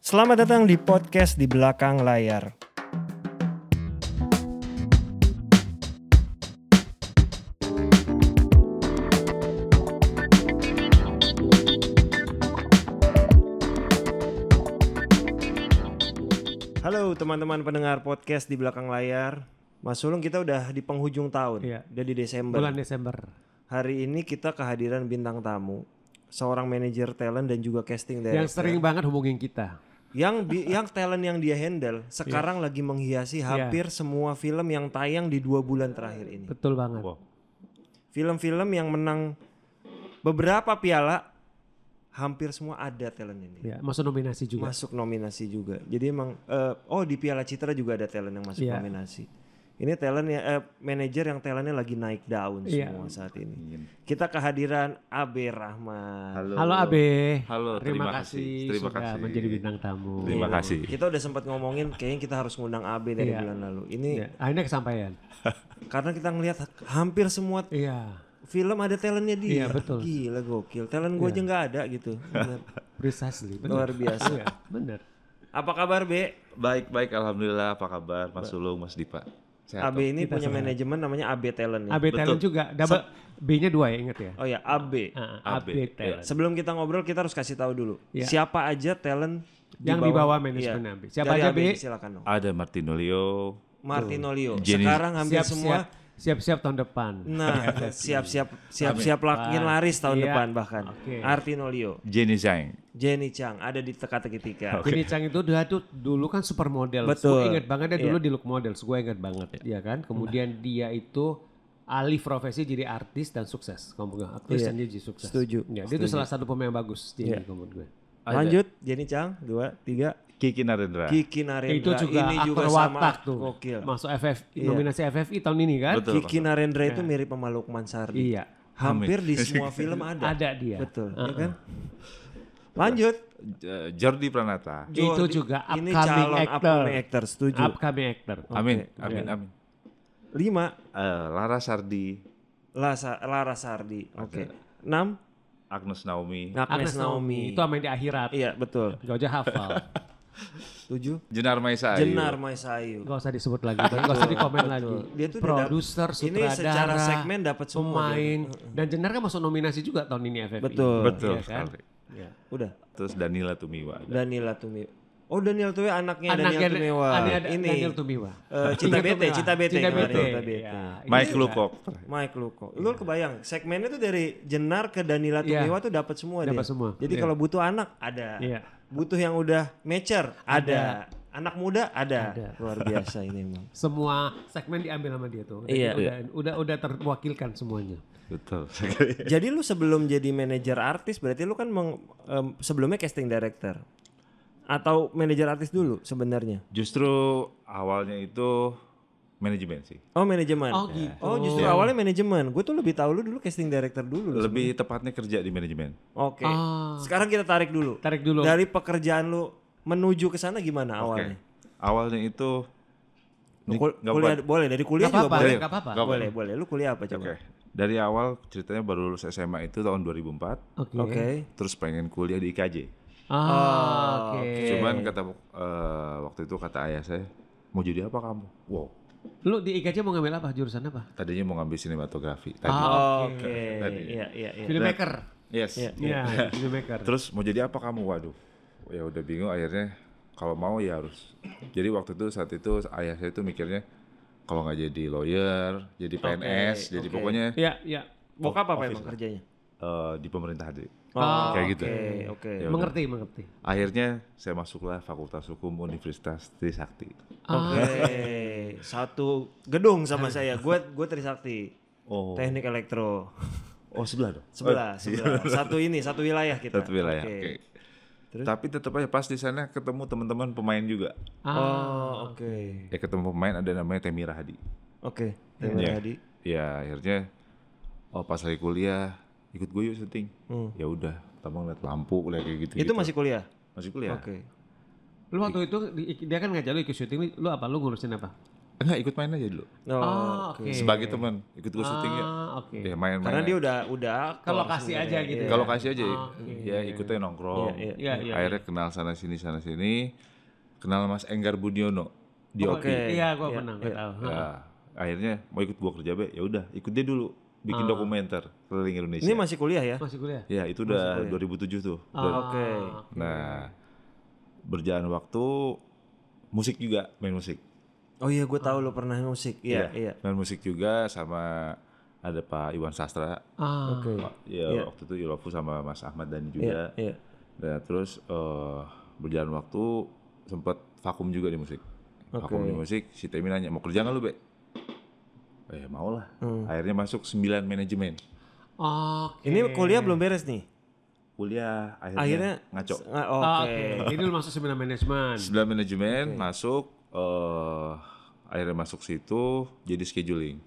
Selamat datang di podcast di belakang layar. Halo teman-teman pendengar podcast di belakang layar. Mas Sulung kita udah di penghujung tahun, Iya. udah di Desember. bulan Desember. Hari ini kita kehadiran bintang tamu, seorang manajer talent dan juga casting director. Yang sering banget hubungin kita. yang bi- yang talent yang dia handle sekarang lagi Iya. menghiasi hampir semua film yang tayang di dua bulan terakhir ini. Betul banget. Film-film yang menang beberapa piala hampir semua ada talent ini. Ya, masuk nominasi juga. Masuk nominasi juga. Jadi emang eh, oh di Piala Citra juga ada talent yang masuk Iya. nominasi. Ini talent ya eh, manajer yang talentnya lagi naik daun Iya. semua saat ini. Kita kehadiran AB Rahman. Halo. Halo Abe. Halo, terima, terima kasih, kasih. Terima sudah kasih. menjadi bintang tamu. Terima kasih. Kita udah sempat ngomongin kayaknya kita harus ngundang AB dari Iya. bulan lalu. Ini Ya, akhirnya kesampaian. karena kita ngelihat hampir semua Iya, film ada talentnya dia. Iya, betul. Iya. Gila gokil. Talent gue aja nggak ada gitu. Bener. precisely. Benar. Luar biasa. Iya, benar. Apa kabar B? Baik, baik. Alhamdulillah. Apa kabar, Mas Sulung, Mas Dipa? Sehat. AB ini punya manajemen namanya AB Talent. Ya? Abe talent juga. Double B-nya dua ya, ingat ya. Oh ya AB. Ah, Abe, Abe talent. Sebelum kita ngobrol kita harus kasih tahu dulu Iya. siapa aja talent Yang di bawah manajemen AB. Dari Siapa aja, AB? B? Silakan dong. Ada Martinolio. Martinolio. Jenny- Sekarang hampir semua. Siap-siap siap-siap tahun depan. Nah, siap-siap siap-siap lakin laris tahun Iya. depan bahkan. Oke. Martinolio, Jenny Zhang. Jenny Chang ada di teka-teki tiga. Jenny Chang itu dia tuh dulu kan supermodel. Betul. Iya. Gue inget banget dia dulu di look model. Gue inget banget. Iya kan? Kemudian Nah. dia itu alih profesi jadi artis dan sukses. Kamu bilang aktris dan dia jadi sukses. Iya. Setuju. Iya. Ya, dia itu salah satu pemain yang bagus Jenny menurut gue. Lanjut, Jenny Chang, dua, tiga. Kiki Narendra. Kiki Narendra itu juga ini aktor juga sama watak tuh. Gokil. Iya. Masuk FF nominasi FFI tahun ini kan? Betul. Kiki Narendra itu mirip sama Lukman Sardi. Iya. Hampir di semua film ada. Ada dia. Betul, ya kan? Lanjut. J- Jordi Pranata. Itu Jordi- juga ini upcoming calon actor. upcoming actor, setuju. Upcoming actor. Amin, amin, amin. Lima, Eh, Lara Sardi. Lasa, Lara Sardi. Oke. Enam, Agnes Naomi. Nah. Agnes, Naomi. Itu main di akhirat. Iya, betul. Gak aja hafal. Tujuh, Jenar Maisa. Ayu. Jenar Maisayu. Gak usah disebut lagi, gak usah dikomen lagi. Dia tuh udah produser, dapet- ini sutradara, secara segmen dapat semua pemain. Dan Jenar kan masuk nominasi juga tahun ini FFI. Betul. Betul Iya kan? sekali. Ya. Udah. Terus Danila Tumiwa. Danila Tumiwa. Oh, Daniel Tumiwa anaknya, Anaknya Daniel Tumiwa. Daniel, ini. Daniel Tumiwa. Eh, Cita Daniel Bete, Tumiwa. Cita Bete Cita kemarin, Bete. Cita Bete. Ya, ini Mike juga Lukok. Mike Luko. Lu kebayang segmennya tuh dari Jenar ke Danila Iya. Tumiwa tuh dapat semua dia. Dapat semua, Jadi iya. kalau butuh anak ada. Iya. Butuh yang udah mature ada. Anak muda ada. Ada. Luar biasa ini emang. Semua segmen diambil sama dia tuh. Dan Iya. Udah, udah, udah terwakilkan semuanya. Betul sekali. Jadi lu sebelum jadi manajer artis berarti lu kan meng- em, sebelumnya casting director atau manajer artis dulu sebenarnya. Justru awalnya itu manajemen sih. Oh manajemen. Oh, gitu. Oh justru awalnya manajemen. Gue tuh lebih tahu lu dulu casting director dulu. Lebih tepatnya kerja di manajemen. Oke. Ah. Sekarang kita tarik dulu. Tarik dulu. Dari pekerjaan lu menuju ke sana gimana awalnya? Awalnya itu Ini Kul- nggak Iya, kuliah boleh dari kuliah Gak juga apa-apa, boleh. gak apa-apa. Nggak Boleh, boleh. Lu kuliah apa coba? Oke. Dari awal ceritanya baru lulus SMA itu tahun 2004, Oke. Oke. terus pengen kuliah di IKJ. Ah, Oke. Cuman kata eh, waktu itu kata ayah saya, "Mau jadi apa kamu?" Wow, Lu di IKJ mau ngambil apa? Jurusan apa? tadinya mau ngambil sinematografi tadi. Ah, Oke. Iya, iya, iya. Filmmaker. Yes. Iya, filmmaker. Terus mau jadi apa kamu? Waduh. Ya udah bingung akhirnya kalau mau ya harus. Jadi waktu itu saat itu ayah saya itu mikirnya kalau nggak jadi lawyer, jadi PNS, jadi oke. pokoknya Iya, iya. Bokap apa emang kerjanya? eh, di pemerintahan deh. Oh, Kayak gitu. Oke, oke. Ya udah. Mengerti, mengerti. Akhirnya saya masuklah Fakultas Hukum Universitas Trisakti. Ah. Oh, Oke. Satu gedung sama saya. Gue gue Trisakti. Oh. Teknik elektro. Oh sebelah dong. Sebelah, sebelah. Satu ini, satu wilayah kita. Satu wilayah. Oke. ya, Oke. Tapi tetap aja pas di sana ketemu teman-teman pemain juga. ah. Oh, oke. Ya ketemu pemain ada namanya Temi Rahadi. Oke. Iya. Terima kasih. Ya akhirnya oh pas lagi kuliah ikut gue yuk syuting. Ya udah, pertama ngeliat lampu ngeliat kayak gitu. Hmm. Iya. Itu masih kuliah? masih kuliah. Oke. Lu waktu itu di- dia kan ngajak lu ikut syuting, lu apa? Lu ngurusin apa? enggak ikut main aja dulu Oh, Ah, oke. oke. sebagai teman ikut gue syuting ya Ah, oke. ya main main Karena dia udah udah Ke aktor lokasi sebenarnya. aja gitu Iya. kalau kasih aja Ah, ya ikutnya nongkrong Iya, Iya, iya. akhirnya kenal sana sini sana sini kenal Mas Enggar Budiono di Oh, oke. OP Iya, gua Iya, pernah, gua iya. tahu. Ya, akhirnya mau ikut gua kerja be ya udah ikut dia dulu bikin dokumenter keliling Indonesia Ah. Ini masih kuliah ya? Masih kuliah. ya itu udah 2007 tuh Ah, Udah- Oke. nah berjalan waktu musik juga main musik Oh iya, gue tahu lo pernah musik. Iya, iya. main musik juga sama ada Pak Iwan Sastra ah, Oke. ya waktu itu Ilofu sama Mas Ahmad Dhani juga Iya, iya. Nah, terus eh, berjalan waktu sempat vakum juga di musik. Vakum di musik, si Temi nanya, mau kerja nggak lu, Be? Eh, mau lah. Akhirnya masuk 9 manajemen. Oke. Ini kuliah belum beres nih. Kuliah, akhirnya, Akhirnya iya. ngaco. s- nga- Ah, Oke. Oke. Ini lu masuk seminar manajemen. 9 manajemen, masuk, eh akhirnya masuk situ, jadi scheduling.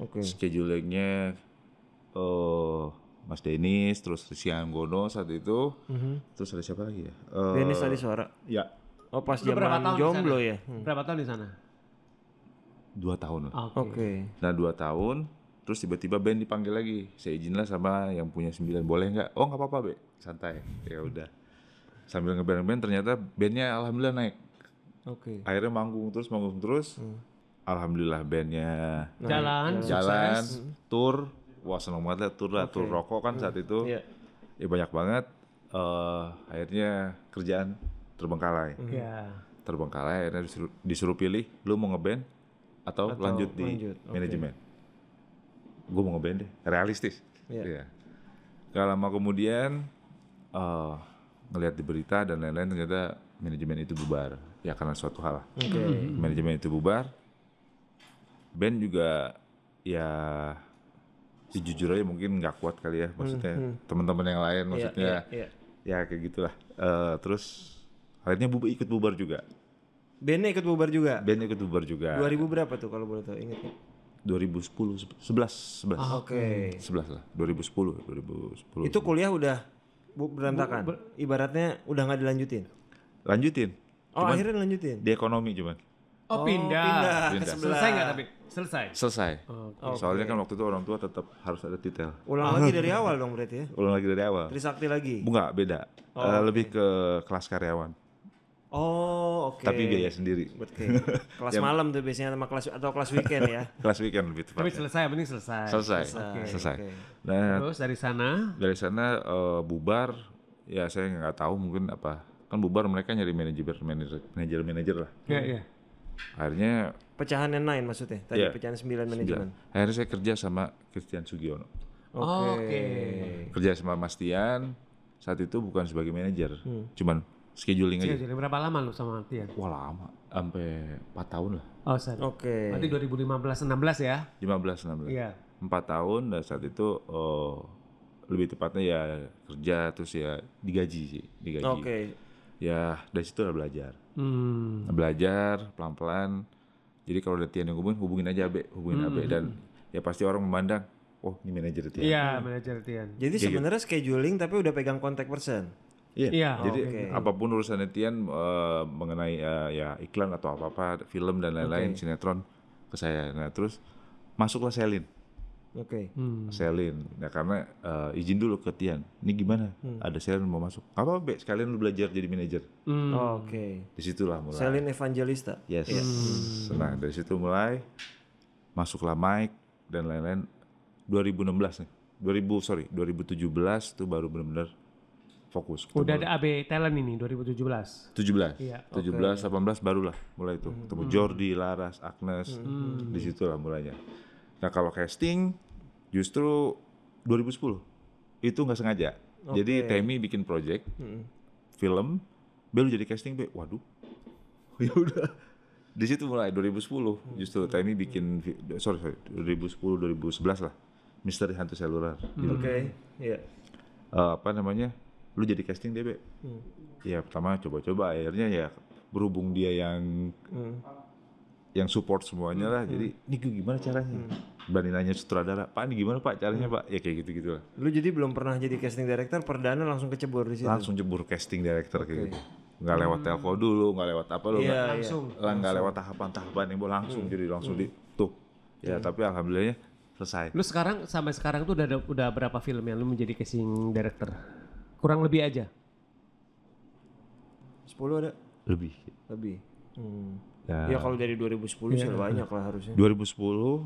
Oke. Eh, Schedulingnya eh Mas Denis, terus si Anggono saat itu, terus ada siapa lagi ya? Eh, Dennis tadi suara. Ya, Oh pas Lu berapa tahun zaman di jomblo sana? ya. Berapa tahun di sana? dua tahun lah. Oke. Oke. Nah dua tahun, terus tiba-tiba band dipanggil lagi. Saya izinlah sama yang punya sembilan, boleh nggak? Oh nggak apa-apa be, santai. Ya udah. Sambil ngeband-band ternyata bandnya alhamdulillah naik. Oke. Akhirnya manggung terus, manggung terus. Alhamdulillah bandnya Jalan. iya. jalan, tour. Wah seneng banget lah tour lah, tour rokok kan saat itu. Iya. Ya banyak banget. Eh, akhirnya kerjaan terbengkalai. Iya. Terbengkalai akhirnya disuruh, disuruh pilih, lu mau ngeband atau, lanjut di lanjut, oke. manajemen. Gue mau ngeband deh, realistis. Iya. Iya. Gak lama kemudian eh ngelihat di berita dan lain-lain ternyata manajemen itu bubar. Ya karena suatu hal. lah. Manajemen itu bubar. Band juga ya ya jujur aja mungkin nggak kuat kali ya maksudnya teman-teman yang lain Hmm, Iya, maksudnya iya, iya. ya kayak gitulah Eh terus akhirnya bu ikut bubar juga Bandnya ikut bubar juga. band ikut bubar juga 2000 berapa tuh kalau boleh tahu ingat ya? 2010 11 11 Ah, Oke. 11 lah 2010 Hmm. 2010 Itu kuliah udah bu- berantakan. Ibaratnya udah nggak dilanjutin. lanjutin Oh akhirnya lanjutin. di ekonomi cuman Oh, pindah. pindah ke Pindah. sebelah. Selesai nggak tapi? Selesai. selesai Oh, soalnya kan waktu itu orang tua tetap harus ada titel Ulang lagi dari awal dong berarti ya. ulang lagi dari awal Trisakti lagi. enggak beda Eh, lebih ke kelas karyawan Oh, oke. tapi biaya sendiri Oke. Kelas malam tuh biasanya sama kelas atau kelas weekend ya. kelas weekend lebih Tapi tepat selesai, yang penting selesai. selesai Selesai, selesai oke. nah Terus dari sana, dari sana eh, bubar ya saya nggak tahu mungkin apa kan bubar mereka nyari manajer manajer manajer manajer lah ya ya. akhirnya Pecahan yang lain maksudnya. Tadi Iya. pecahan 9 manajemen. akhirnya saya kerja sama Christian Sugiono Oke. kerja sama Mas Tian saat itu bukan sebagai manajer Hmm. cuman scheduling Iya, aja Jadi berapa lama lu sama Tian? wah lama sampai 4 tahun lah Oh, sorry. Oke. Berarti 2015 16 ya? 15 16 Iya. empat tahun dan saat itu eh, lebih tepatnya ya kerja terus ya digaji sih digaji Oke. ya dari situ udah belajar Hmm. belajar pelan-pelan. Jadi kalau ada Tian yang hubungin, hubungin aja Abe, Hmm. hubungin Abe dan ya pasti orang memandang, oh ini manajer Tian. Iya, manajer Tian. Jadi sebenarnya scheduling tapi udah pegang kontak person. Iya. Iya, Jadi oke. apapun urusannya Tian eh, mengenai eh, ya iklan atau apa-apa, film dan lain-lain, sinetron ke saya. Nah, terus masuklah Selin. Oke. Hmm. Selin. Nah, karena eh, izin dulu ke Tian. Ini gimana? Ada Selin mau masuk. Gak Apa Be? Sekalian lu belajar jadi manajer. Hmm. Oke. Disitulah mulai. Selin Evangelista. Yes. Nah dari situ mulai masuklah mic dan lain-lain 2016 nih. 2000 sorry 2017 tuh baru benar-benar fokus. ketemu. Udah ada AB Talent ini 2017. 17, Iya. 17, 18 barulah mulai tuh ketemu Jordi, Laras, Agnes, di situlah mulainya. Nah kalau casting justru 2010 itu nggak sengaja. Jadi Temi bikin project film, Bel jadi casting, Be. Waduh, ya udah. Di situ mulai 2010 justru Temi bikin vi- sorry sorry 2010 2011 lah Misteri Hantu Selular. Oke. Iya. Eh, apa namanya lu jadi casting deh Be. ya pertama coba-coba akhirnya ya berhubung dia yang yang support semuanya lah jadi ini gue gimana caranya berani nanya sutradara pak ini gimana pak caranya pak ya kayak gitu gitu lah Lu jadi belum pernah jadi casting director perdana langsung kecebur di situ. langsung jebur casting director kayak gitu nggak lewat telco dulu nggak lewat apa lo Iya, nggak langsung. lah nggak lewat tahapan-tahapan yang boleh langsung jadi langsung di tuh ya tapi alhamdulillahnya selesai Lu sekarang sampai sekarang tuh udah ada- udah berapa film yang lu menjadi casting director? Kurang lebih aja. 10 ada lebih lebih. Hmm. ya, Ya kalau dari 2010 sih Iya. udah banyak lah harusnya. 2010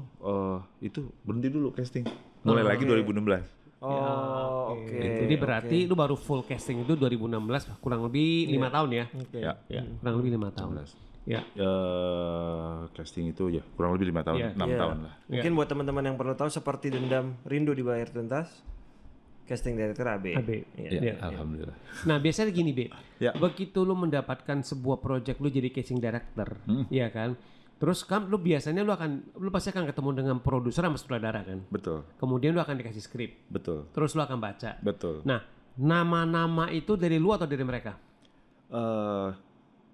eh, itu berhenti dulu casting mulai lagi 2016 Oh, oke. Iya. Jadi berarti lu baru full casting itu 2016 kurang lebih lima Iya. tahun ya. Oke. ya Ya, kurang lebih lima tahun. Ya. eh casting itu ya kurang lebih lima Iya. tahun enam Iya. tahun lah Mungkin buat teman-teman yang perlu tahu seperti dendam rindu dibayar tuntas casting director Iya. AB. Abe. ya, Ya. alhamdulillah Nah biasanya gini Be, Ya. begitu lu mendapatkan sebuah project lu jadi casting director, Hmm. ya kan? Terus kan lu biasanya lu akan, lu pasti akan ketemu dengan produser sama sutradara kan? betul Kemudian lu akan dikasih skrip, betul terus lu akan baca. betul Nah nama-nama itu dari lu atau dari mereka? eh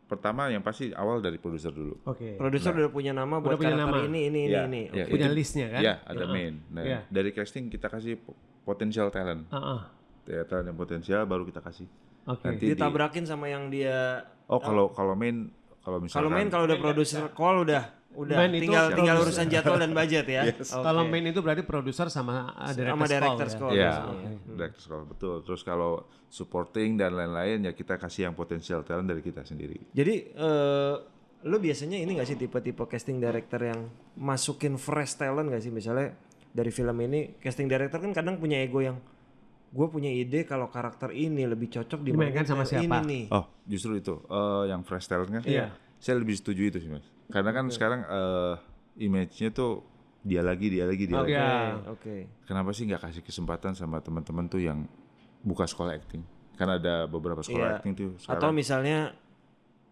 pertama yang pasti awal dari produser dulu Oke. Produser udah punya nama buat punya karakter nama. ini ini ini Ya, ini. ya. Oke. Punya Itu- listnya kan? ya ada main nah, Iya. dari casting kita kasih po- potensial talent Ah, ah. ya, talent yang potensial baru kita kasih Oke. nanti di- Ditabrakin sama yang dia oh kalau kalau main kalau misalkan kalau main kalau udah produser call udah udah Main itu tinggal tinggal produser. urusan jadwal dan budget ya. Oke. Kalau main itu berarti produser sama uh, director sama director ya? call. ya biasanya. director's call, betul terus kalau supporting dan lain-lain ya kita kasih yang potensial talent dari kita sendiri Jadi eh lo biasanya ini gak sih tipe-tipe casting director yang masukin fresh talent gak sih misalnya dari film ini casting director kan kadang punya ego yang gue punya ide kalau karakter ini lebih cocok dimainkan Dimainkan sama siapa?" ini nih. Oh, justru itu eh, yang fresh talent kan? Iya. Saya lebih setuju itu sih mas. Karena kan sekarang eh, image-nya tuh dia lagi, dia lagi, dia Oke. Oke, lagi. Ya. Oke. Kenapa sih nggak kasih kesempatan sama teman-teman tuh yang buka sekolah acting? Karena ada beberapa Iya. sekolah acting tuh Atau gitu, sekarang. misalnya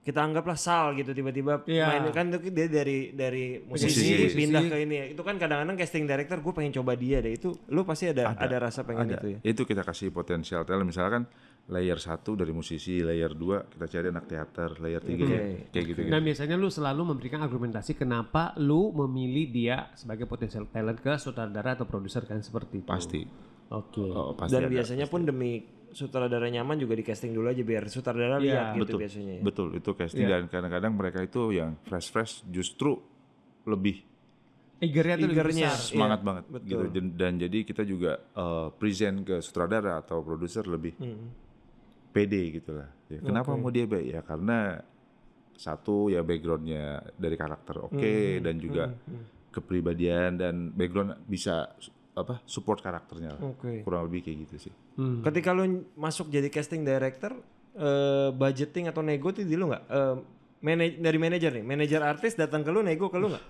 kita anggaplah Sal gitu tiba-tiba Iya. main kan itu dia dari dari musisi, Musisi. pindah ke ini ya. Itu kan kadang-kadang casting director gue pengen coba dia deh. Itu lu pasti ada ada, rasa pengen itu ya. itu kita kasih potensial talent. Misalkan layer satu dari musisi, layer 2 kita cari anak teater, layer 3 Oke. kayak gitu. Nah biasanya lu selalu memberikan argumentasi kenapa lu memilih dia sebagai potensial talent ke sutradara atau produser kan seperti itu. Pasti. Oke. Oh, pasti Dan ada. biasanya pun demi sutradara nyaman juga di casting dulu aja biar sutradara lihat gitu biasanya ya. Iya, Betul, itu casting dan kadang-kadang mereka itu yang fresh-fresh justru lebih Eagernya tuh lebih Eagernya. besar. semangat banget Iya, betul. gitu Dan- dan jadi kita juga eh, present ke sutradara atau produser lebih Hmm. pede gitu lah ya, kenapa mau dia baik ya karena satu ya backgroundnya dari karakter oke Hmm, dan juga kepribadian dan background bisa su- apa support karakternya lah. Oke. kurang lebih kayak gitu sih Ketika lu masuk jadi casting director eh, budgeting atau nego tuh di lu nggak? Eh, mana- dari manajer nih, manajer artis datang ke lu nego ke lu nggak?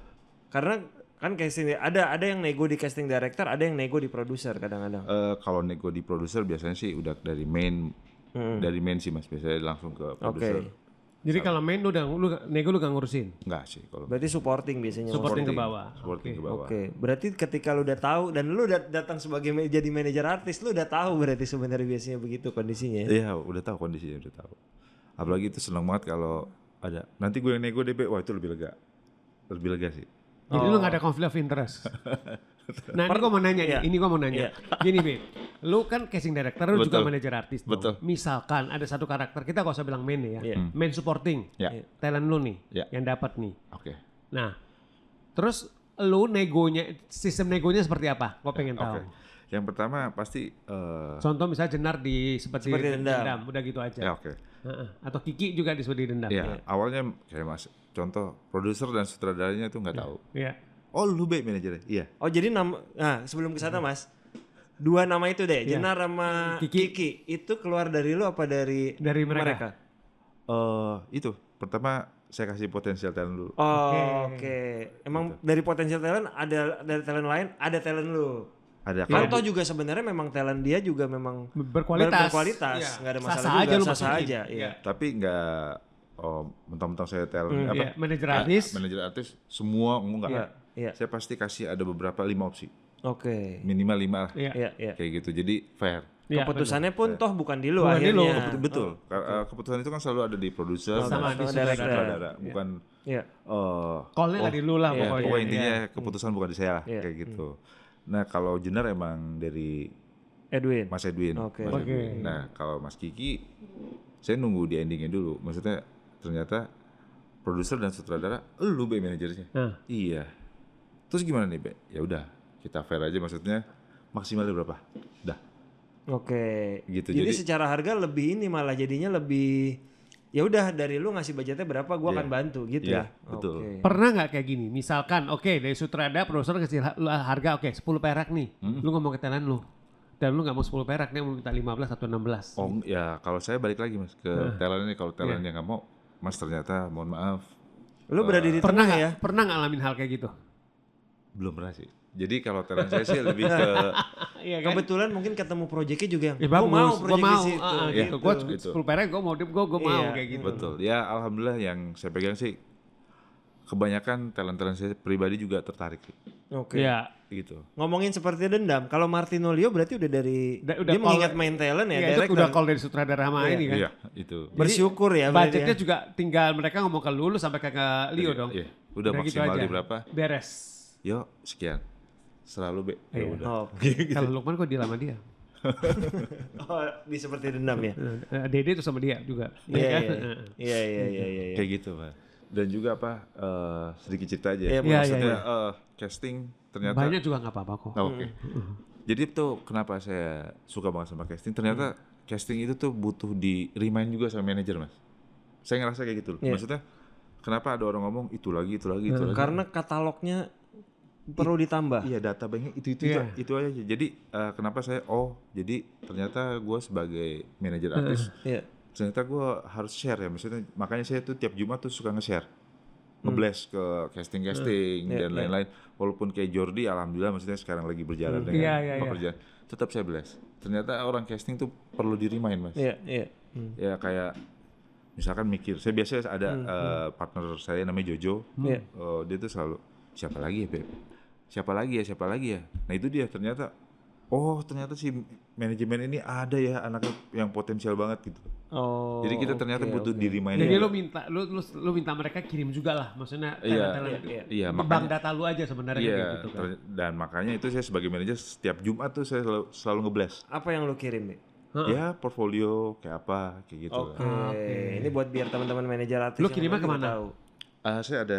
Karena kan casting ada ada yang nego di casting director, ada yang nego di produser kadang-kadang. Eh, kalau nego di produser biasanya sih udah dari main Hmm. dari main sih mas biasanya langsung ke produser Jadi kalau main lu udah lu nego lu gak ngurusin. enggak sih kalau Berarti supporting biasanya. Oke, Supporting ke bawah. supporting ke bawah berarti ketika lu udah tahu dan lu udah datang sebagai ma- jadi manajer artis, lu udah tahu berarti sebenarnya biasanya begitu kondisinya. ya? Iya, udah tahu kondisinya, udah tahu. Apalagi itu seneng banget kalau ada. Nanti gue yang nego DP, wah itu lebih lega, lebih lega sih. Jadi lu gak ada konflik of interest. nah ini gua mau nanya Iya. nih, ini gua mau nanya. Gini Beb, lu kan casting director, lu juga Betul. manajer artis dong. Betul. Misalkan ada satu karakter, kita gak usah bilang main ya. Iya. Main supporting, Ya, talent lu nih Iya. yang dapat nih. oke. Nah, terus lu negonya, sistem negonya seperti apa? Gua pengen tahu. Oke. Yang pertama pasti, eh, Contoh misalnya Jenar di seperti, Seperti dendam. Dendam. udah gitu aja. ya oke. Heeh. Atau Kiki juga di seperti dendam. Ya, awalnya kayak mas, contoh produser dan sutradaranya itu nggak tahu. Iya. Oh lu baik manajernya? Iya. Oh jadi nama nah sebelum ke sana Mas. Dua nama itu deh, Jenar sama Mm-hmm. Iya. Kiki. Kiki. Itu keluar dari lu apa dari Dari mereka. Eh itu pertama saya kasih potensial talent dulu. Oh, oke. Emang Gitu. dari potensial talent ada dari talent lain, ada talent lu. Ada Kan kalau toh juga sebenarnya memang talent dia juga memang Iya. Ber- berkualitas. berkualitas, Iya. nggak ada masalah Sah-sah juga, aja lu sah-sah masukin. aja, Iya. iya. tapi nggak oh, mentang-mentang saya talent apa? Iya, Manajer artis. Ah, manajer artis semua enggak. Iya, iya. Saya pasti kasih ada beberapa lima opsi. oke. minimal lima lah Iya. Iya, iya. kayak gitu jadi fair Iya, Keputusannya pun toh bukan di lu Bukan di lu. akhirnya. betul Ka- eh, keputusan itu kan selalu ada di produser Nah, oh, Sama dan di sutradara. sutradara. sutradara bukan Iya. eh, Call-nya nggak di lu lah ya, pokoknya. pokoknya intinya Iya. Hmm. keputusan bukan di saya lah Iya. kayak gitu nah kalau Jenner emang dari Edwin. Mas Edwin Oke. Mas Oke. Edwin. nah kalau Mas Kiki saya nunggu di endingnya dulu maksudnya ternyata produser dan sutradara lu be manajernya Nah. iya terus gimana nih be ya udah kita fair aja maksudnya maksimalnya berapa dah Oke. Gitu, Jadi, jadi- secara harga lebih ini malah jadinya lebih ya udah dari lu ngasih budgetnya berapa gua akan Iya. bantu gitu ya. Iya, betul. Oke. Pernah nggak kayak gini? Misalkan, oke dari sutradara, produser kasih ha- lu harga oke 10 perak nih. Lu ngomong ke tenan lu. Dan lu nggak mau 10 perak, dia mau minta 15 atau 16. oh ya kalau saya balik lagi mas ke talentnya kalau talentnya nggak mau mas ternyata mohon maaf Lu berada di pernah tengah nggak ya. Pernah ngalamin hal kayak gitu? belum pernah sih jadi kalau talent saya sih lebih ke Iya Kebetulan mungkin ketemu proyeknya juga yang kan? Ya, gua bagus. mau gua proyek di mau. situ. ah, ah, Iya, gitu. Gua gitu. 10 perak, gua mau, gua, gua mau Iya. kayak gitu. Betul. Ya alhamdulillah yang saya pegang sih kebanyakan talent-talent saya pribadi juga tertarik sih. Oke. Iya. gitu. Ngomongin seperti dendam, kalau Martinolio berarti udah dari Da- udah dia call- mengingat main talent ya, Iya, direct itu udah call dari sutradara sama ini kan. Iya, itu. Bersyukur ya berarti Budgetnya ya. juga tinggal mereka ngomong ke lu, lu sampai ke, ke Leo dong. gitu Iya, udah maksimal di berapa? Beres. Yo, sekian. Selalu be. Iya. Ya udah. Oke. Kalau Lukman kok dia sama dia. Oh, di seperti dendam ya. Eh, Dede tuh sama dia juga. Iya kan? iya. Heeh. Iya iya iya iya. iya. Kayak gitu, Pak. Dan juga apa? eh, sedikit cerita aja. Iya, Iya, ya maksudnya eh, casting ternyata Banyak juga nggak apa-apa kok. Oh, Oke. Jadi tuh kenapa saya suka banget sama casting? Ternyata casting itu tuh butuh di remind juga sama manajer, Mas. Saya ngerasa kayak gitu loh. Iya. Hmm, Maksudnya kenapa ada orang ngomong itu lagi, itu lagi, itu lagi. Karena katalognya perlu ditambah. Iya data banknya itu itu Iya. itu aja. Jadi eh, kenapa saya oh jadi ternyata gue sebagai manajer artis Iya. ternyata gue harus share ya maksudnya makanya saya tuh tiap Jumat tuh suka nge-share ngeblast ke casting casting Hmm. Iya, dan iya. lain-lain walaupun kayak Jordi alhamdulillah maksudnya sekarang lagi berjalan dengan Iya, iya, iya. pekerjaan tetap saya bless ternyata orang casting tuh perlu di remind mas Iya iya. Hmm. ya kayak misalkan mikir saya biasanya ada eh, partner saya namanya Jojo Iya. Eh, dia tuh selalu siapa lagi ya Beb siapa lagi ya siapa lagi ya nah itu dia ternyata oh ternyata si manajemen ini ada ya anaknya yang potensial banget gitu Oh. jadi kita oke, ternyata butuh oke. di remind Jadi lu minta lu, lu lu minta mereka kirim juga lah, maksudnya Iya, talent-talent. iya, iya, bank makanya- data lu aja sebenarnya Iya, kayak gitu kan. ter- dan makanya itu saya sebagai manajer setiap Jumat tuh saya selalu, selalu ngeblast. Apa yang lu kirim, Bi? Ya, portfolio kayak apa, kayak gitu. Ah, Oke. lah. Ini buat biar teman-teman manajer artis Lu yang kirimnya lain juga kemana? tahu. Ah, saya ada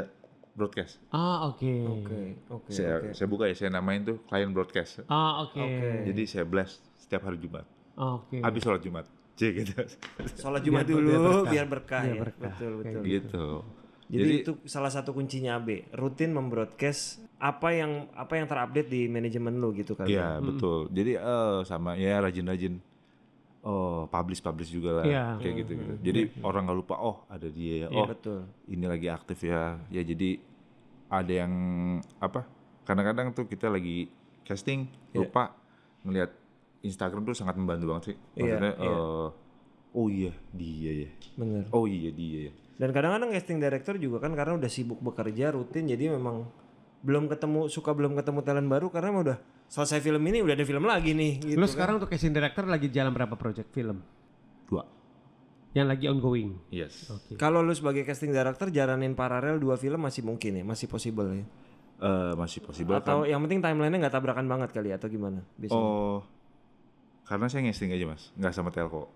broadcast. Ah, oke. Oke, oke. saya oke. saya buka ya, saya namain tuh klien broadcast. Ah, Oke. oke. Iya. Jadi saya blast setiap hari Jumat. Oke. Habis sholat Jumat. Cek gitu. Sholat Jumat dulu biar berkah, ya. Betul, betul. gitu. Jadi, Jadi, itu salah satu kuncinya AB, rutin membroadcast apa yang apa yang terupdate di manajemen lu gitu kan. iya, betul. Jadi eh, sama ya rajin-rajin oh, publish-publish juga lah Iya. kayak gitu-gitu. Hmm, Jadi orang nggak lupa oh ada Iya, dia ya. Oh, betul. ini lagi aktif ya ya jadi ada yang apa kadang-kadang tuh kita lagi casting Iya. lupa ngelihat Instagram tuh sangat membantu banget sih Iya, maksudnya iya. eh, oh iya dia ya Bener. oh iya dia ya Dan kadang-kadang casting director juga kan karena udah sibuk bekerja rutin jadi memang belum ketemu suka belum ketemu talent baru karena emang udah selesai film ini udah ada film lagi nih gitu. Lu sekarang untuk casting director lagi jalan berapa project film? dua Yang lagi ongoing. yes Oh. Kalau lu sebagai casting director jaranin paralel dua film masih mungkin ya, masih possible ya. Eh, masih possible Atau yang penting timelinenya nggak tabrakan banget kali ya, atau gimana? kan? Biasanya. oh karena saya ngesting aja mas nggak sama telco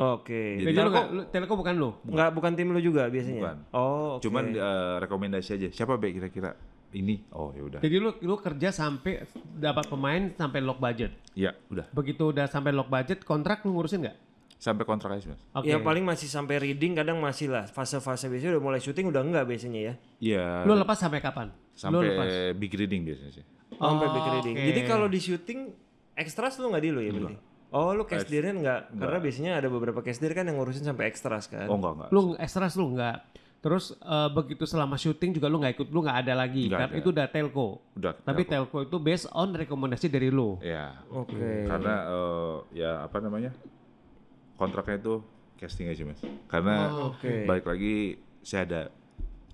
Oke. Jadi, Telco- lu, nggak- lu telco bukan lu. nggak bukan tim lu juga biasanya. Bukan. Oh, oke. cuman eh, rekomendasi aja siapa baik kira-kira ini oh ya udah Jadi lu lu kerja sampai dapat pemain sampai lock budget. ya udah Begitu udah sampai lock budget, kontrak lu ngurusin nggak? sampai kontrak aja sih, mas Oke. Ya paling masih sampai reading kadang masih lah fase-fase biasanya udah mulai syuting udah enggak biasanya ya. Iya Lu lepas sampai kapan? lu lepas. sampai big reading biasanya sih Oh, sampai back reading. oke. Jadi kalau di syuting ekstras lu nggak di lu ya berarti. Oh lu cast dir enggak? Karena biasanya ada beberapa cast dir kan yang ngurusin sampai ekstras kan. oh enggak enggak lu stress lu nggak terus eh, begitu selama syuting juga lu nggak ikut lu nggak ada lagi Nggak Karena ada. itu udah telco Udah, tapi telco itu based on rekomendasi dari lu Ya. Oke. Karena eh, ya apa namanya kontraknya itu casting aja mas. Karena Oh, oke. balik lagi saya ada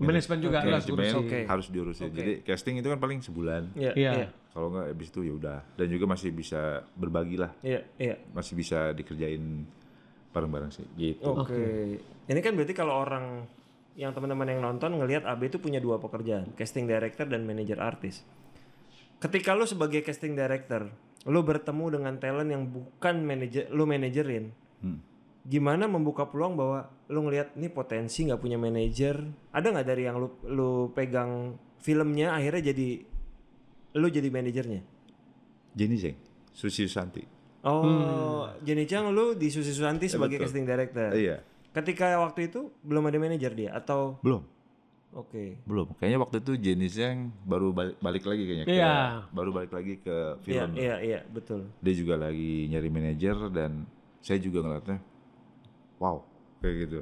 manajemen juga lu harus manajemen ngurusin. Oke. harus diurusin. Jadi casting itu kan paling sebulan. Iya. Iya. Iya. Kalau nggak habis itu ya udah. Dan juga masih bisa berbagi lah, Iya. Iya. masih bisa dikerjain bareng-bareng sih. Gitu. Oke. Ini kan berarti kalau orang yang teman-teman yang nonton ngelihat AB itu punya dua pekerjaan, casting director dan manajer artis. Ketika lu sebagai casting Hmm. director, lu bertemu dengan talent yang bukan manajer lu manajerin. gimana membuka peluang bahwa lu ngelihat nih potensi nggak punya manajer ada nggak dari yang lu lu pegang filmnya akhirnya jadi lu jadi manajernya Jenny Zeng, Susi Santi. oh Jenny Chang lu di Susi Susanti sebagai Hmm. Ya, betul. casting director Iya, ketika waktu itu belum ada manajer dia atau belum. oke Belum. Kayaknya waktu itu Jenny Zeng baru balik, balik lagi kayaknya ke- Iya. baru balik lagi ke iya film. iya iya betul Dia juga lagi nyari manajer dan saya juga ngeliatnya wow, kayak gitu.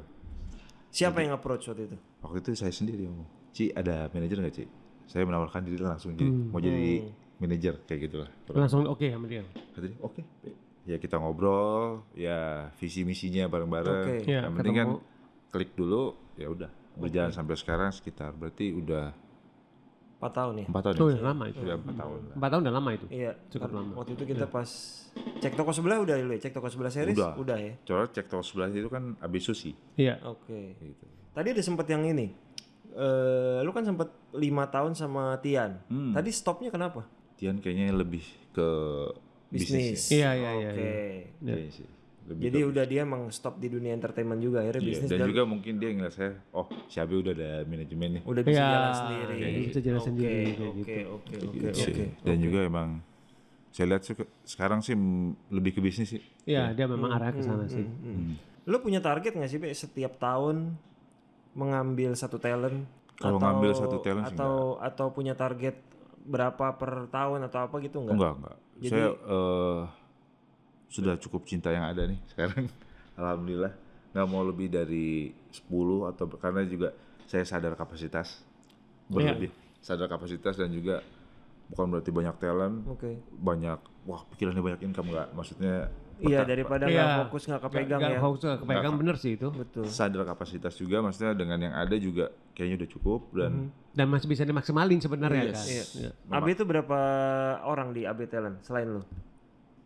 siapa yang approach waktu itu Waktu itu saya sendiri ngomong, "Ci, ada manajer nggak, Ci?" Saya menawarkan diri langsung jadi Hmm. mau jadi Hmm. manajer kayak gitulah. Langsung oke sama dia. Kata dia, "Oke." Ya kita ngobrol, ya visi misinya bareng-bareng. Oke. Iya, Yang penting kan ketemu. klik dulu, ya udah berjalan sampai sekarang sekitar berarti udah 4 tahun ya empat tahun. Oh, ya? udah lama itu. Sudah empat tahun. lah. Empat tahun udah lama itu. iya Cukup karena lama. waktu itu kita pas cek toko sebelah udah dulu ya cek toko sebelah series Iya. Udah. ya Coba cek toko sebelah itu kan abis sushi. Iya. oke Gitu. Tadi ada sempet yang ini. eh lu kan sempet lima tahun sama Tian. Hmm. Tadi stopnya kenapa? Tian kayaknya lebih ke Bisnis. bisnis. Iya, ya? iya, iya, Oke. Kayaknya sih. Lebih Jadi ke- udah dia emang stop di dunia entertainment juga akhirnya Iya, bisnis dan dan juga mungkin dia ngeliat saya, oh si Abi udah ada manajemen nih. udah bisa Iya, jalan sendiri. udah bisa jalan Oke, sendiri, kayak Oke, oke, oke, Gitu sih. oke. Dan juga emang saya lihat sih ke- sekarang sih m- lebih ke bisnis sih. Iya, dia memang arah ke sana sih. Hmm. Lu punya target nggak sih Be? setiap tahun mengambil satu talent? Kalau Atau- ngambil satu talent sih atau atau punya target berapa per tahun atau apa gitu nggak? Enggak, enggak. saya eh, sudah cukup cinta yang ada nih sekarang. Alhamdulillah. Nggak mau lebih dari 10 atau karena juga saya sadar kapasitas Iya. berlebih. Sadar kapasitas dan juga bukan berarti banyak talent, Oke. banyak wah pikirannya banyak income enggak. Maksudnya Iya peta- daripada Iya. nggak fokus nggak kepegang Nggak ya. hoax, nggak kepegang bener sih itu. Betul. sadar kapasitas juga maksudnya dengan yang ada juga kayaknya udah cukup dan Dan masih bisa dimaksimalin sebenarnya kan. Yes. Iya. AB itu berapa orang di AB Talent selain lu?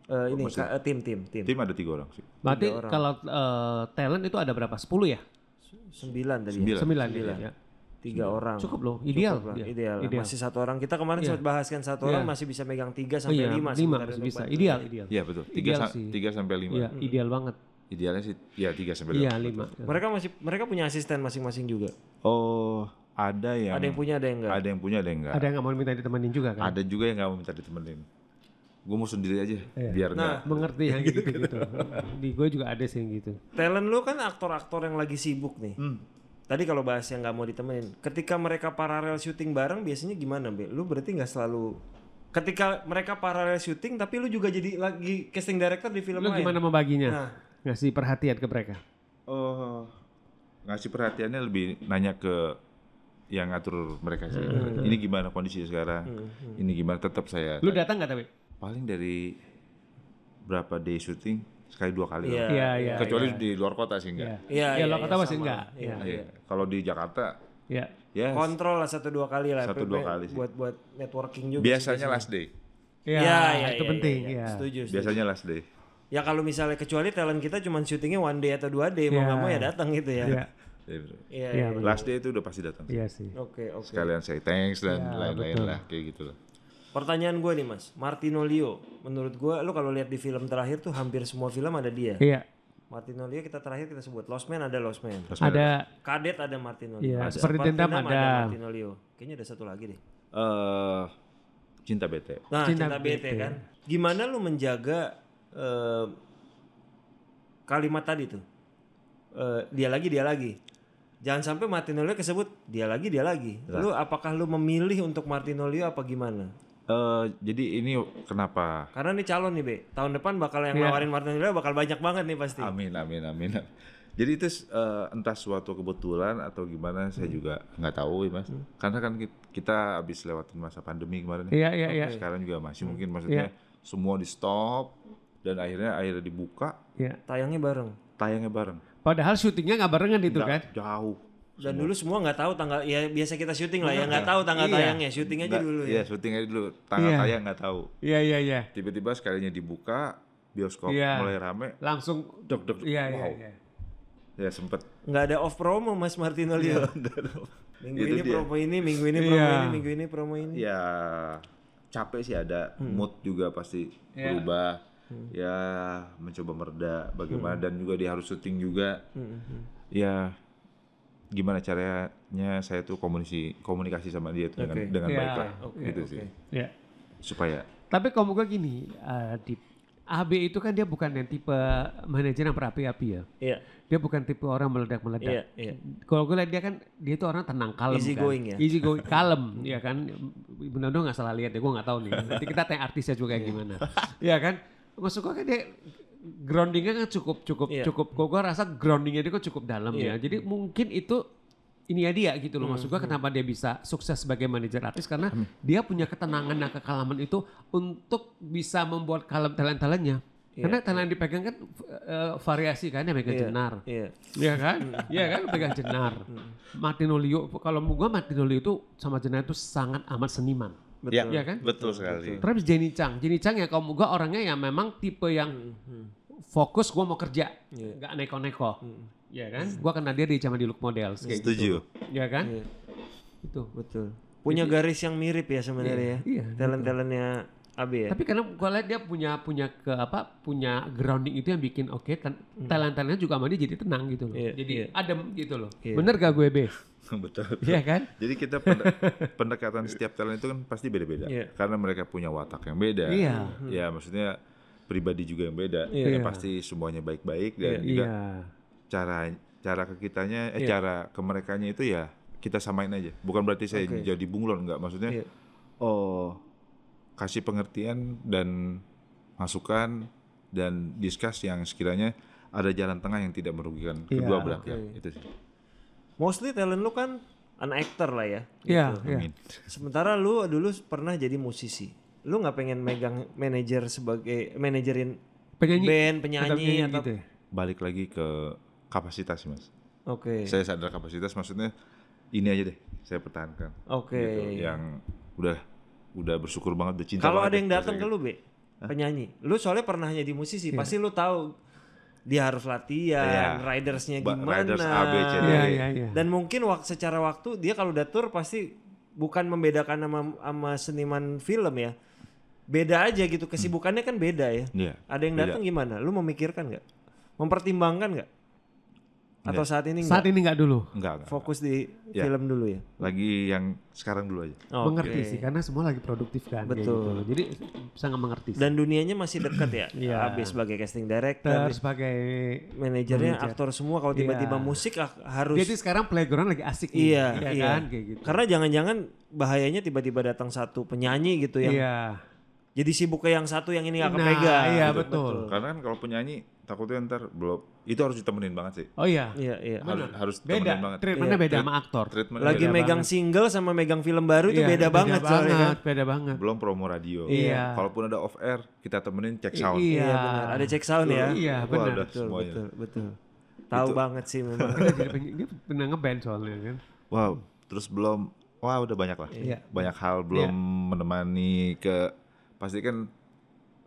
Eh, ini ka- eh, tim tim tim. tim ada tiga orang sih. Berarti kalau eh, talent itu ada berapa? 10 ya? Sembilan tadi. ya? Sembilan. Sembilan ya. Tiga orang. Cukup loh, ideal. Cukup lah, Iya, ideal. lah. ideal. Masih satu orang. Kita kemarin sempat bahas kan satu orang masih bisa megang tiga sampai Iya, lima. lima sebenarnya masih untuk Hmm. bisa. bantu. Ideal, ideal. Iya betul. Ideal Tiga, sa- sih. tiga sampai lima. Iya, ideal banget. Idealnya sih ya tiga sampai Iya, lima. lima. Mereka masih mereka punya asisten masing-masing juga. Oh ada yang Ada yang punya ada yang enggak. ada yang punya ada yang enggak. Ada yang nggak mau minta ditemenin juga kan? Ada juga yang nggak mau minta ditemenin. Gue mau sendiri aja Iya. biar nggak. Mengerti yang Gitu, gitu-gitu. Di gue juga ada sih yang gitu. Talent lu kan aktor-aktor yang lagi sibuk nih. Hmm. Tadi kalau bahas yang nggak mau ditemenin, ketika mereka paralel syuting bareng biasanya gimana, Be? Lu berarti nggak selalu ketika mereka paralel syuting tapi lu juga jadi lagi casting director di film Lu lain. gimana membaginya? Nah. Ngasih perhatian ke mereka? Oh ngasih perhatiannya lebih nanya ke yang ngatur mereka sih. Ini gimana kondisi sekarang? Ini gimana? Tetap Mhm. saya Lu datang nggak tapi? Nah, paling dari berapa day syuting sekali dua kali. Iya. lah. Iya, iya. Kecuali di luar kota sih Iya, enggak. Iya, iya, lo kata iya, masih sama. enggak. Iya. Iya. Iya. Kalau di Jakarta Iya. ya Kontrol lah satu dua kali lah. Satu Pe- dua pe- kali sih. Buat buat networking juga. biasanya last day. Iya, iya, itu iya, penting. iya, Iya. Setuju. setuju. Biasanya last day. Ya kalau misalnya kecuali talent kita cuma syutingnya one day atau dua day mau Iya. nggak mau ya datang gitu ya. Iya. Iya, betul. Iya. Iya, iya. benar. Last day itu udah pasti datang. Iya sih. Oke oke. Sekalian say thanks dan lain-lain lah kayak gitu lah. Pertanyaan gue nih mas, Martinolio. Menurut gue, lu kalau lihat di film terakhir tuh hampir semua film ada dia. Iya. Martinolio kita terakhir kita sebut Lost Man ada Lost Man. Ada Kadet ada Martinolio. Iya, Ada. Seperti Dendam Platinum ada. Martinolio. Kayaknya ada satu lagi deh. eh cinta bete. Nah, Cinta cinta, bete, kan. Gimana lu menjaga eh, kalimat tadi tuh? Eh, dia lagi, dia lagi. Jangan sampai Martinolio kesebut dia lagi, dia lagi. Lu apakah lu memilih untuk Martinolio apa gimana? eh jadi ini kenapa? Karena nih calon nih, Be. Tahun depan bakal yang nawarin Martinolio bakal banyak banget nih pasti. Amin amin amin. Jadi itu eh, entah suatu kebetulan atau gimana saya juga nggak tahu ya, mas. Karena kan ki- kita habis lewatin masa pandemi kemarin. Iya, ya. iya, iya. Sekarang juga masih mungkin maksudnya semua di stop dan akhirnya akhirnya dibuka Iya. Tayangnya bareng. tayangnya bareng. Padahal syutingnya nggak barengan itu kan? Jauh. Dan dulu semua nggak tahu tanggal ya biasa kita syuting lah ya nggak tahu tanggal tayangnya, syuting aja Nggak- dulu ya. Iya syuting aja dulu. Tanggal Iya. tayang nggak tahu. Iya, iya, iya. Tiba-tiba sekalinya dibuka bioskop Iya. mulai rame. Langsung. Dok dok. dok. Iya, iya, Wow. iya. Ya sempet Nggak ada off promo Mas Martinolio. minggu Itu ini dia. Iya. promo ini, minggu ini promo Iya. ini, minggu ini promo ini. Hmm. Iya. ya capek sih ada mood juga pasti berubah ya mencoba mereda bagaimana Hmm. dan juga dia harus syuting juga ya gimana caranya saya tuh komunikasi komunikasi sama dia tuh dengan Oke. dengan Ya, baik lah oke, gitu oke. sih Ya. supaya Tapi kalau gue gini, eh, di AB itu kan dia bukan yang tipe manajer yang berapi-api ya. Iya, Dia bukan tipe orang meledak-meledak. iya, iya. Kalau gue lihat dia kan dia tuh orang tenang, kalem Easy kan. going ya. Easy going, kalem ya kan. Benar-benar nggak salah lihat deh, gue nggak tahu nih. Nanti kita tanya artisnya juga Iya. kayak gimana. ya kan. Maksud gue kan dia groundingnya kan cukup cukup Iya. cukup. Kok gue rasa groundingnya dia kok cukup dalam Iya. Hmm, ya. Jadi mungkin itu ini ya dia gitu loh. Maksud gue kenapa dia bisa sukses sebagai manajer artis karena dia punya ketenangan dan kekalaman itu untuk bisa membuat kalem talent-talentnya. Iya, Karena talent yang dipegang kan eh, variasi kan yang megang Iya, jenar. Iya. Iya kan? Iya kan? Pegang jenar. Hmm. Martin Olio, kalau gua Martin Olio itu sama jenar itu sangat amat seniman. Betul. ya Iya kan? betul sekali Terus Jenny Chang. Jenny Chang ya kalau gua orangnya ya memang tipe yang fokus gua mau kerja. Hmm, Iya. Hmm. Nggak neko-neko. Iya kan? Gua kenal dia di zaman di look model. kayak setuju gitu. Iya kan? Iya, Itu. betul. Punya garis yang mirip ya sebenarnya Iya, iya, ya. Talent-talentnya AB ya. Tapi karena gua lihat dia punya punya ke apa punya grounding itu yang bikin oke tan- talent-talentnya juga sama dia jadi tenang gitu loh. Hmm. Iya, jadi iya. adem gitu loh. Iya. Bener gak gue be? betul Iya kan? Jadi kita pende- pendekatan setiap talent itu kan pasti beda-beda Iya. karena mereka punya watak yang beda. Iya. Ya maksudnya pribadi juga yang beda. Iya. Ya, pasti semuanya baik-baik dan juga Iya. cara cara ke kitanya eh cara ke merekanya itu ya kita samain aja. Bukan berarti saya Oke. jadi bunglon nggak maksudnya. Iya. Oh, kasih pengertian dan masukan dan diskus yang sekiranya ada jalan tengah yang tidak merugikan kedua Iya. belah pihak. Itu sih. Mostly talent lu kan an actor lah ya. Iya. Iya. Amin. Sementara lu dulu pernah jadi musisi. Lu nggak pengen megang manajer sebagai manajerin Penyanyi band, atau penyanyi penyanyi atau gitu ya? Balik lagi ke kapasitas sih, Mas. Oke. saya sadar kapasitas maksudnya ini aja deh saya pertahankan Oke. gitu yang udah udah bersyukur banget udah cinta Kalau ada banget ya, yang deh, datang ke lu, rasanya. Be, penyanyi. Lu soalnya pernah jadi Iya. musisi, pasti lu tahu dia harus latihan, Iya. ridersnya Ba- gimana. riders A, B, C, D. E. Iya, iya, iya. Dan mungkin wak secara waktu dia kalau datur pasti bukan membedakan sama sama seniman film ya. Beda aja gitu, kesibukannya kan beda ya. Iya. Ada yang Beda. datang gimana? Lu memikirkan nggak? Mempertimbangkan nggak? Atau saat ini Saat nggak? ini nggak dulu. enggak, enggak. Fokus di Iya. film dulu ya. lagi yang sekarang dulu aja Oke. Mengerti sih karena semua lagi produktif kan. kayak Betul. gitu loh. Jadi sangat mengerti. sih. Dan dunianya masih dekat ya. Iya. Habis sebagai casting director, Terus sebagai manajernya aktor semua kalau tiba-tiba Iya. musik ak- harus jadi sekarang playground lagi asik nih, iya ya iya kan kayak gitu. karena jangan-jangan bahayanya tiba-tiba datang satu penyanyi gitu yang Iya. jadi sibuk ke yang satu yang ini nggak Nah, kepegang iya gitu. betul. karena kan kalau penyanyi takutnya ntar belum itu harus ditemenin banget sih Oh iya. iya iya harus harus Beda. ditemenin banget Treatmentnya beda sama aktor. treatment iya, lagi beda. megang single sama megang film baru itu Iya, beda, banget soalnya kan Beda banget. belum promo radio Iya. kalaupun ada off air kita temenin cek sound Iya. iya benar ada cek sound ya Iya Wah, benar. udah betul semuanya betul betul tahu banget sih memang Dia jadi penyanyi- Dia pernah ngeband soalnya kan. wow terus belum wah udah banyak lah Iya. banyak hal belum menemani ke pasti kan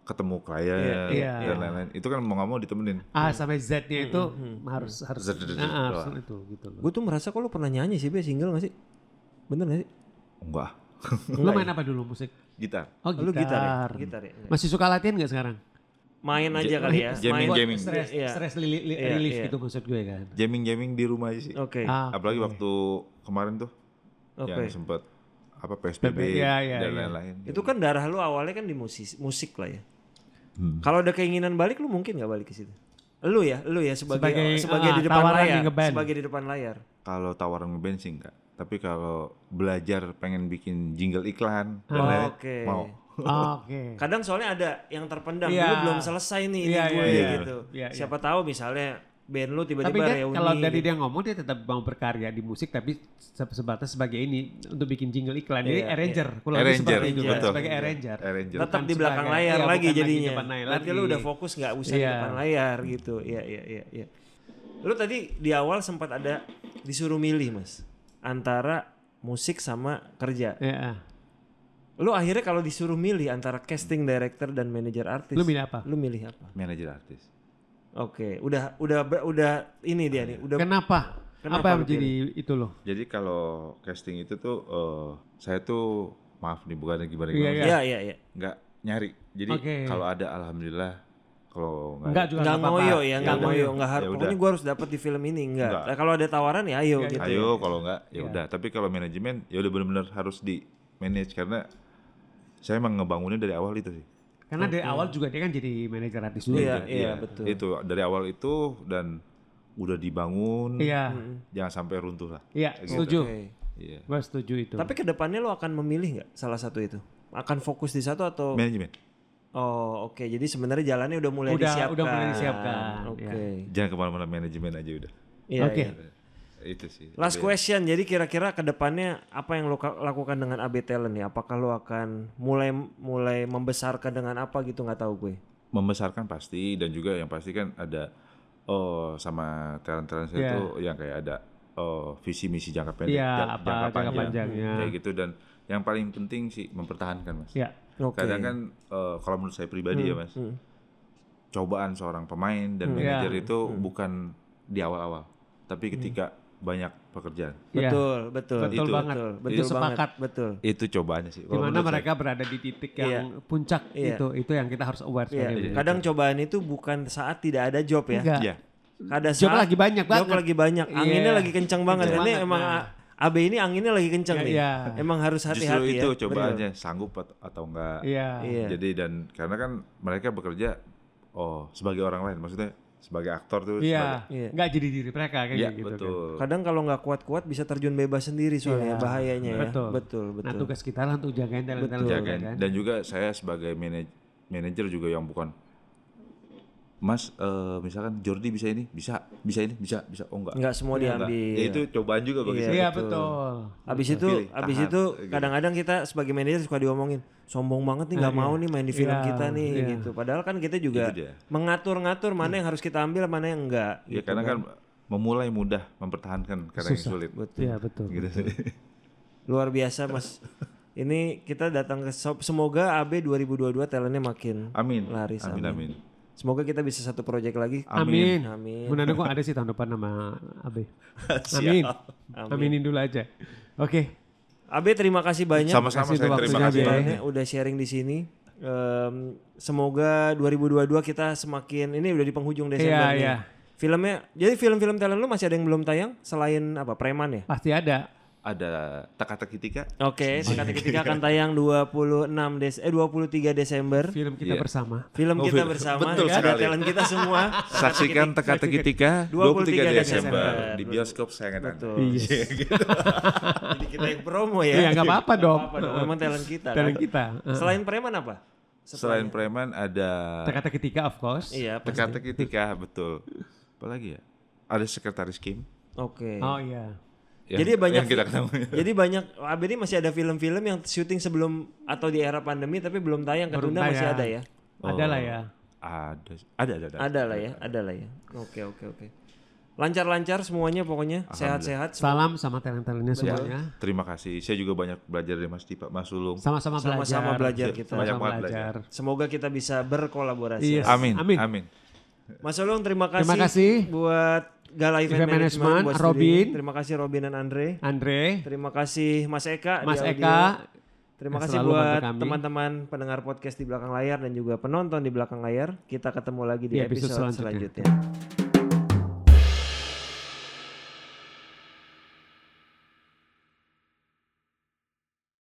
ketemu klien Iya. dan lain-lain itu kan mau nggak mau ditemenin A Hmm. sampai Z-nya itu harus harus Z- Z- Z- Nah, harus doang. itu gitu loh. gue tuh merasa kok lu pernah nyanyi sih be single gak sih bener gak sih enggak Lu main apa dulu musik? gitar Oh, lu gitar ya gitar gitar. ya Masih suka latihan gak sekarang? main aja Ja- kali ya jamming, main jamming. Stress, Iya. stress li- li- Iya, relief iya. gitu maksud gue kan. jamming jamming di rumah aja sih oke Ah, apalagi waktu kemarin tuh oke yang sempet apa psbb Iya, iya, dan iya. lain-lain Itu kan darah lu awalnya kan di musik, musik lah ya. Hmm. Kalau ada keinginan balik lu mungkin nggak balik ke situ. Lu ya, lu ya sebagai sebagai, Sebagai, ah, di depan tawaran layar, di ngeband. sebagai di depan layar. kalau tawaran ngeband sih enggak tapi kalau belajar pengen bikin jingle iklan dan Oh, lain-lain, oke. Eh, mau Oke. Kadang soalnya ada yang terpendam, Iya. dulu belum selesai nih ini Iya, gue iya, iya. gitu. Iya, iya. Siapa tahu misalnya band lu Tapi tiba-tiba dia reuni. kalau dari gitu. dia ngomong dia tetap mau berkarya di musik tapi se- sebatas sebagai ini untuk bikin jingle iklan. Jadi Iya, arranger, kurang lebih arranger seperti itu kan, betul sebagai arranger. arranger tetap Bukan di belakang sebagai- layar iya, lagi bukan lagi jadinya. depan layar Berarti lagi. lu udah fokus nggak usah di Iya. depan layar gitu. Iya iya iya iya. Lu tadi di awal sempat ada disuruh milih, Mas. Antara musik sama kerja. Iya. Lu akhirnya kalau disuruh milih antara casting director dan manajer artis, Lu milih apa? Lu milih apa? manajer artis Oke, udah udah udah ini dia nih, udah Kenapa? Kenapa apa yang lu menjadi itu loh? Jadi kalau casting itu tuh eh, saya tuh maaf nih bukannya gimana Iya, gimana iya. ya ya ya. nggak nyari. Jadi Oke. kalau ada alhamdulillah Kalau nggak Enggak juga Nggak nggak apa-apa. ngoyo ya, nggak udah. ngoyo, nggak harus. Ya udah. Pokoknya gue harus dapat di film ini, nggak. Nggak. Iya, Nah, kalau ada tawaran ya ayo gitu. ayo ya. kalau nggak ya udah tapi kalau manajemen ya udah benar-benar harus di manage karena saya emang ngebangunnya dari awal itu sih Karena dari awal juga dia kan jadi manajer artis dulu. Iya, kan? iya betul. itu dari awal itu dan udah dibangun Iya, Hmm. jangan sampai runtuh lah iya, Gitu. setuju. Oke. iya Gue setuju itu. Tapi kedepannya lo akan memilih nggak salah satu itu? Akan fokus di satu atau? manajemen Oh oke, jadi sebenarnya jalannya udah mulai Udah- disiapkan. udah mulai disiapkan, Oke. ya. jangan kemana-mana manajemen aja udah Iya, Oke. iya. itu sih Last Tapi- question, jadi kira-kira kedepannya apa yang lo ka- lakukan dengan AB Talent nih? Apakah lo akan mulai mulai membesarkan dengan apa gitu nggak tahu gue. membesarkan pasti dan juga yang pasti kan ada oh sama talent-talent saya Iya. tuh yang kayak ada oh visi misi jangka pendek Iya, jang- apa jangka panjangnya. kayak gitu dan yang paling penting sih mempertahankan mas Ya, Oke. kadang kan eh, kalau menurut saya pribadi ya mas hmm. cobaan seorang pemain Iya. dan Hmm. manajer itu bukan di awal-awal tapi ketika banyak pekerjaan Iya. Betul, betul. Betul Itu. banget. Betul, itu betul sepakat. banget. Betul. itu cobaannya sih Di kalau mana menurut saya. mereka berada di titik yang puncak Iya. itu, itu yang kita harus aware Iya, sebagai manajer. kadang cobaan itu bukan saat tidak ada job ya. Enggak. Iya. Ada Job saat lagi banyak job banget. lagi banyak. Anginnya Iya. lagi kencang banget. Kencang ini banget, emang nah. A- AB ini anginnya lagi kencang Iya, nih. iya. Emang harus justru hati-hati itu ya. cobaannya sanggup at- atau enggak Iya. Betul. Iya. Jadi dan karena kan mereka bekerja oh sebagai orang lain maksudnya sebagai aktor tuh Iya. sebagai- Iya. Enggak jadi diri mereka kayak Iya, gitu. kan. betul. Kadang kalau nggak kuat-kuat bisa terjun bebas sendiri soalnya Iya. bahayanya ya. Betul. betul. Nah, betul. tugas kita lah untuk jagain talent-talent Betul. mereka, Jagain. kan. Ya Dan juga saya sebagai manaj- manajer juga yang bukan Mas eh, misalkan Jordi bisa ini, bisa, bisa ini, bisa, bisa. Oh enggak. nggak semua Enggak. diambil. Ya, itu cobaan juga Iya. bagi saya. Iya, betul. betul. Abis itu, Pilih, abis tahan, itu gitu. kadang-kadang kita sebagai manajer suka diomongin sombong banget nih nggak mau nih main di film Iya, kita nih iya. Hmm. gitu. Padahal kan kita juga Itu dia. mengatur-ngatur mana yang harus kita ambil, mana yang enggak. Ya gitu karena kan memulai mudah mempertahankan karena yang sulit. Betul. Iya, betul. Gitu. Luar biasa mas. Ini kita datang ke shop. Semoga AB 2022 talentnya makin Amin. laris. Amin, amin. Semoga kita bisa satu project lagi. Amin. Amin. Mudah-mudahan gua ada sih tahun depan sama Abe. Siap. Amin. Aminin dulu aja. Oke. AB terima kasih ya. banyak. Sama-sama Kasih saya tuh terima waktunya, kasih Bi. banget. Soalnya udah sharing di sini. Em, semoga 2022 kita semakin ini udah di penghujung Desember Iya, nih. iya. Filmnya, jadi film-film talent lu masih ada yang belum tayang selain apa preman ya? Pasti ada. Ada teka-teki tika. Oke, sekat ketika akan tayang 26 Des eh 23 Desember. Film kita Iya. bersama. Film Oh, kita film. bersama, Betul ya, ada sekali. talent kita semua. Saksikan teka-teki tika 23 Desember. 23 Desember di bioskop sayangan Anda. Betul. Jadi kita yang promo ya. Iya, nggak apa-apa dong. Apa dong? Memang talent kita. kan? Talent kita. Eh, Selain preman apa? Selain preman ada Kata ketiga of course. Iya, pasti. teka-teki tika, betul. Apalagi ya? Ada sekretaris Kim. Oke. Oh iya. yang- Jadi banyak yang kita ketemu. Jadi banyak AB ini masih ada film-film yang syuting sebelum atau di era pandemi tapi belum tayang Belum ketunda masih tayang. ada ya. Ada lah ya. ada ada ada ada, Ada lah ya, ada lah ya. Oke, oke, oke. Lancar-lancar semuanya pokoknya, sehat-sehat. semua. Salam sama Iya. talent-talentnya semuanya. terima kasih saya juga banyak belajar dari Mas Tipa Mas Sulung Sama-sama belajar. Sama-sama belajar kita. Sama-sama Banyak banget belajar. Semoga kita bisa berkolaborasi. Iya. amin Amin. amin, Mas Olung terima kasih. Terima kasih. buat Gala Event, Event Management, Management, buat Robin. studionya. Terima kasih Robin dan Andre. Andre, Terima kasih Mas Eka di Mas audio. Eka, Terima yang kasih selalu bantu buat kami. teman-teman pendengar podcast di belakang layar dan juga penonton di belakang layar. Kita ketemu lagi di Di episode episode, selanjutnya. selanjutnya.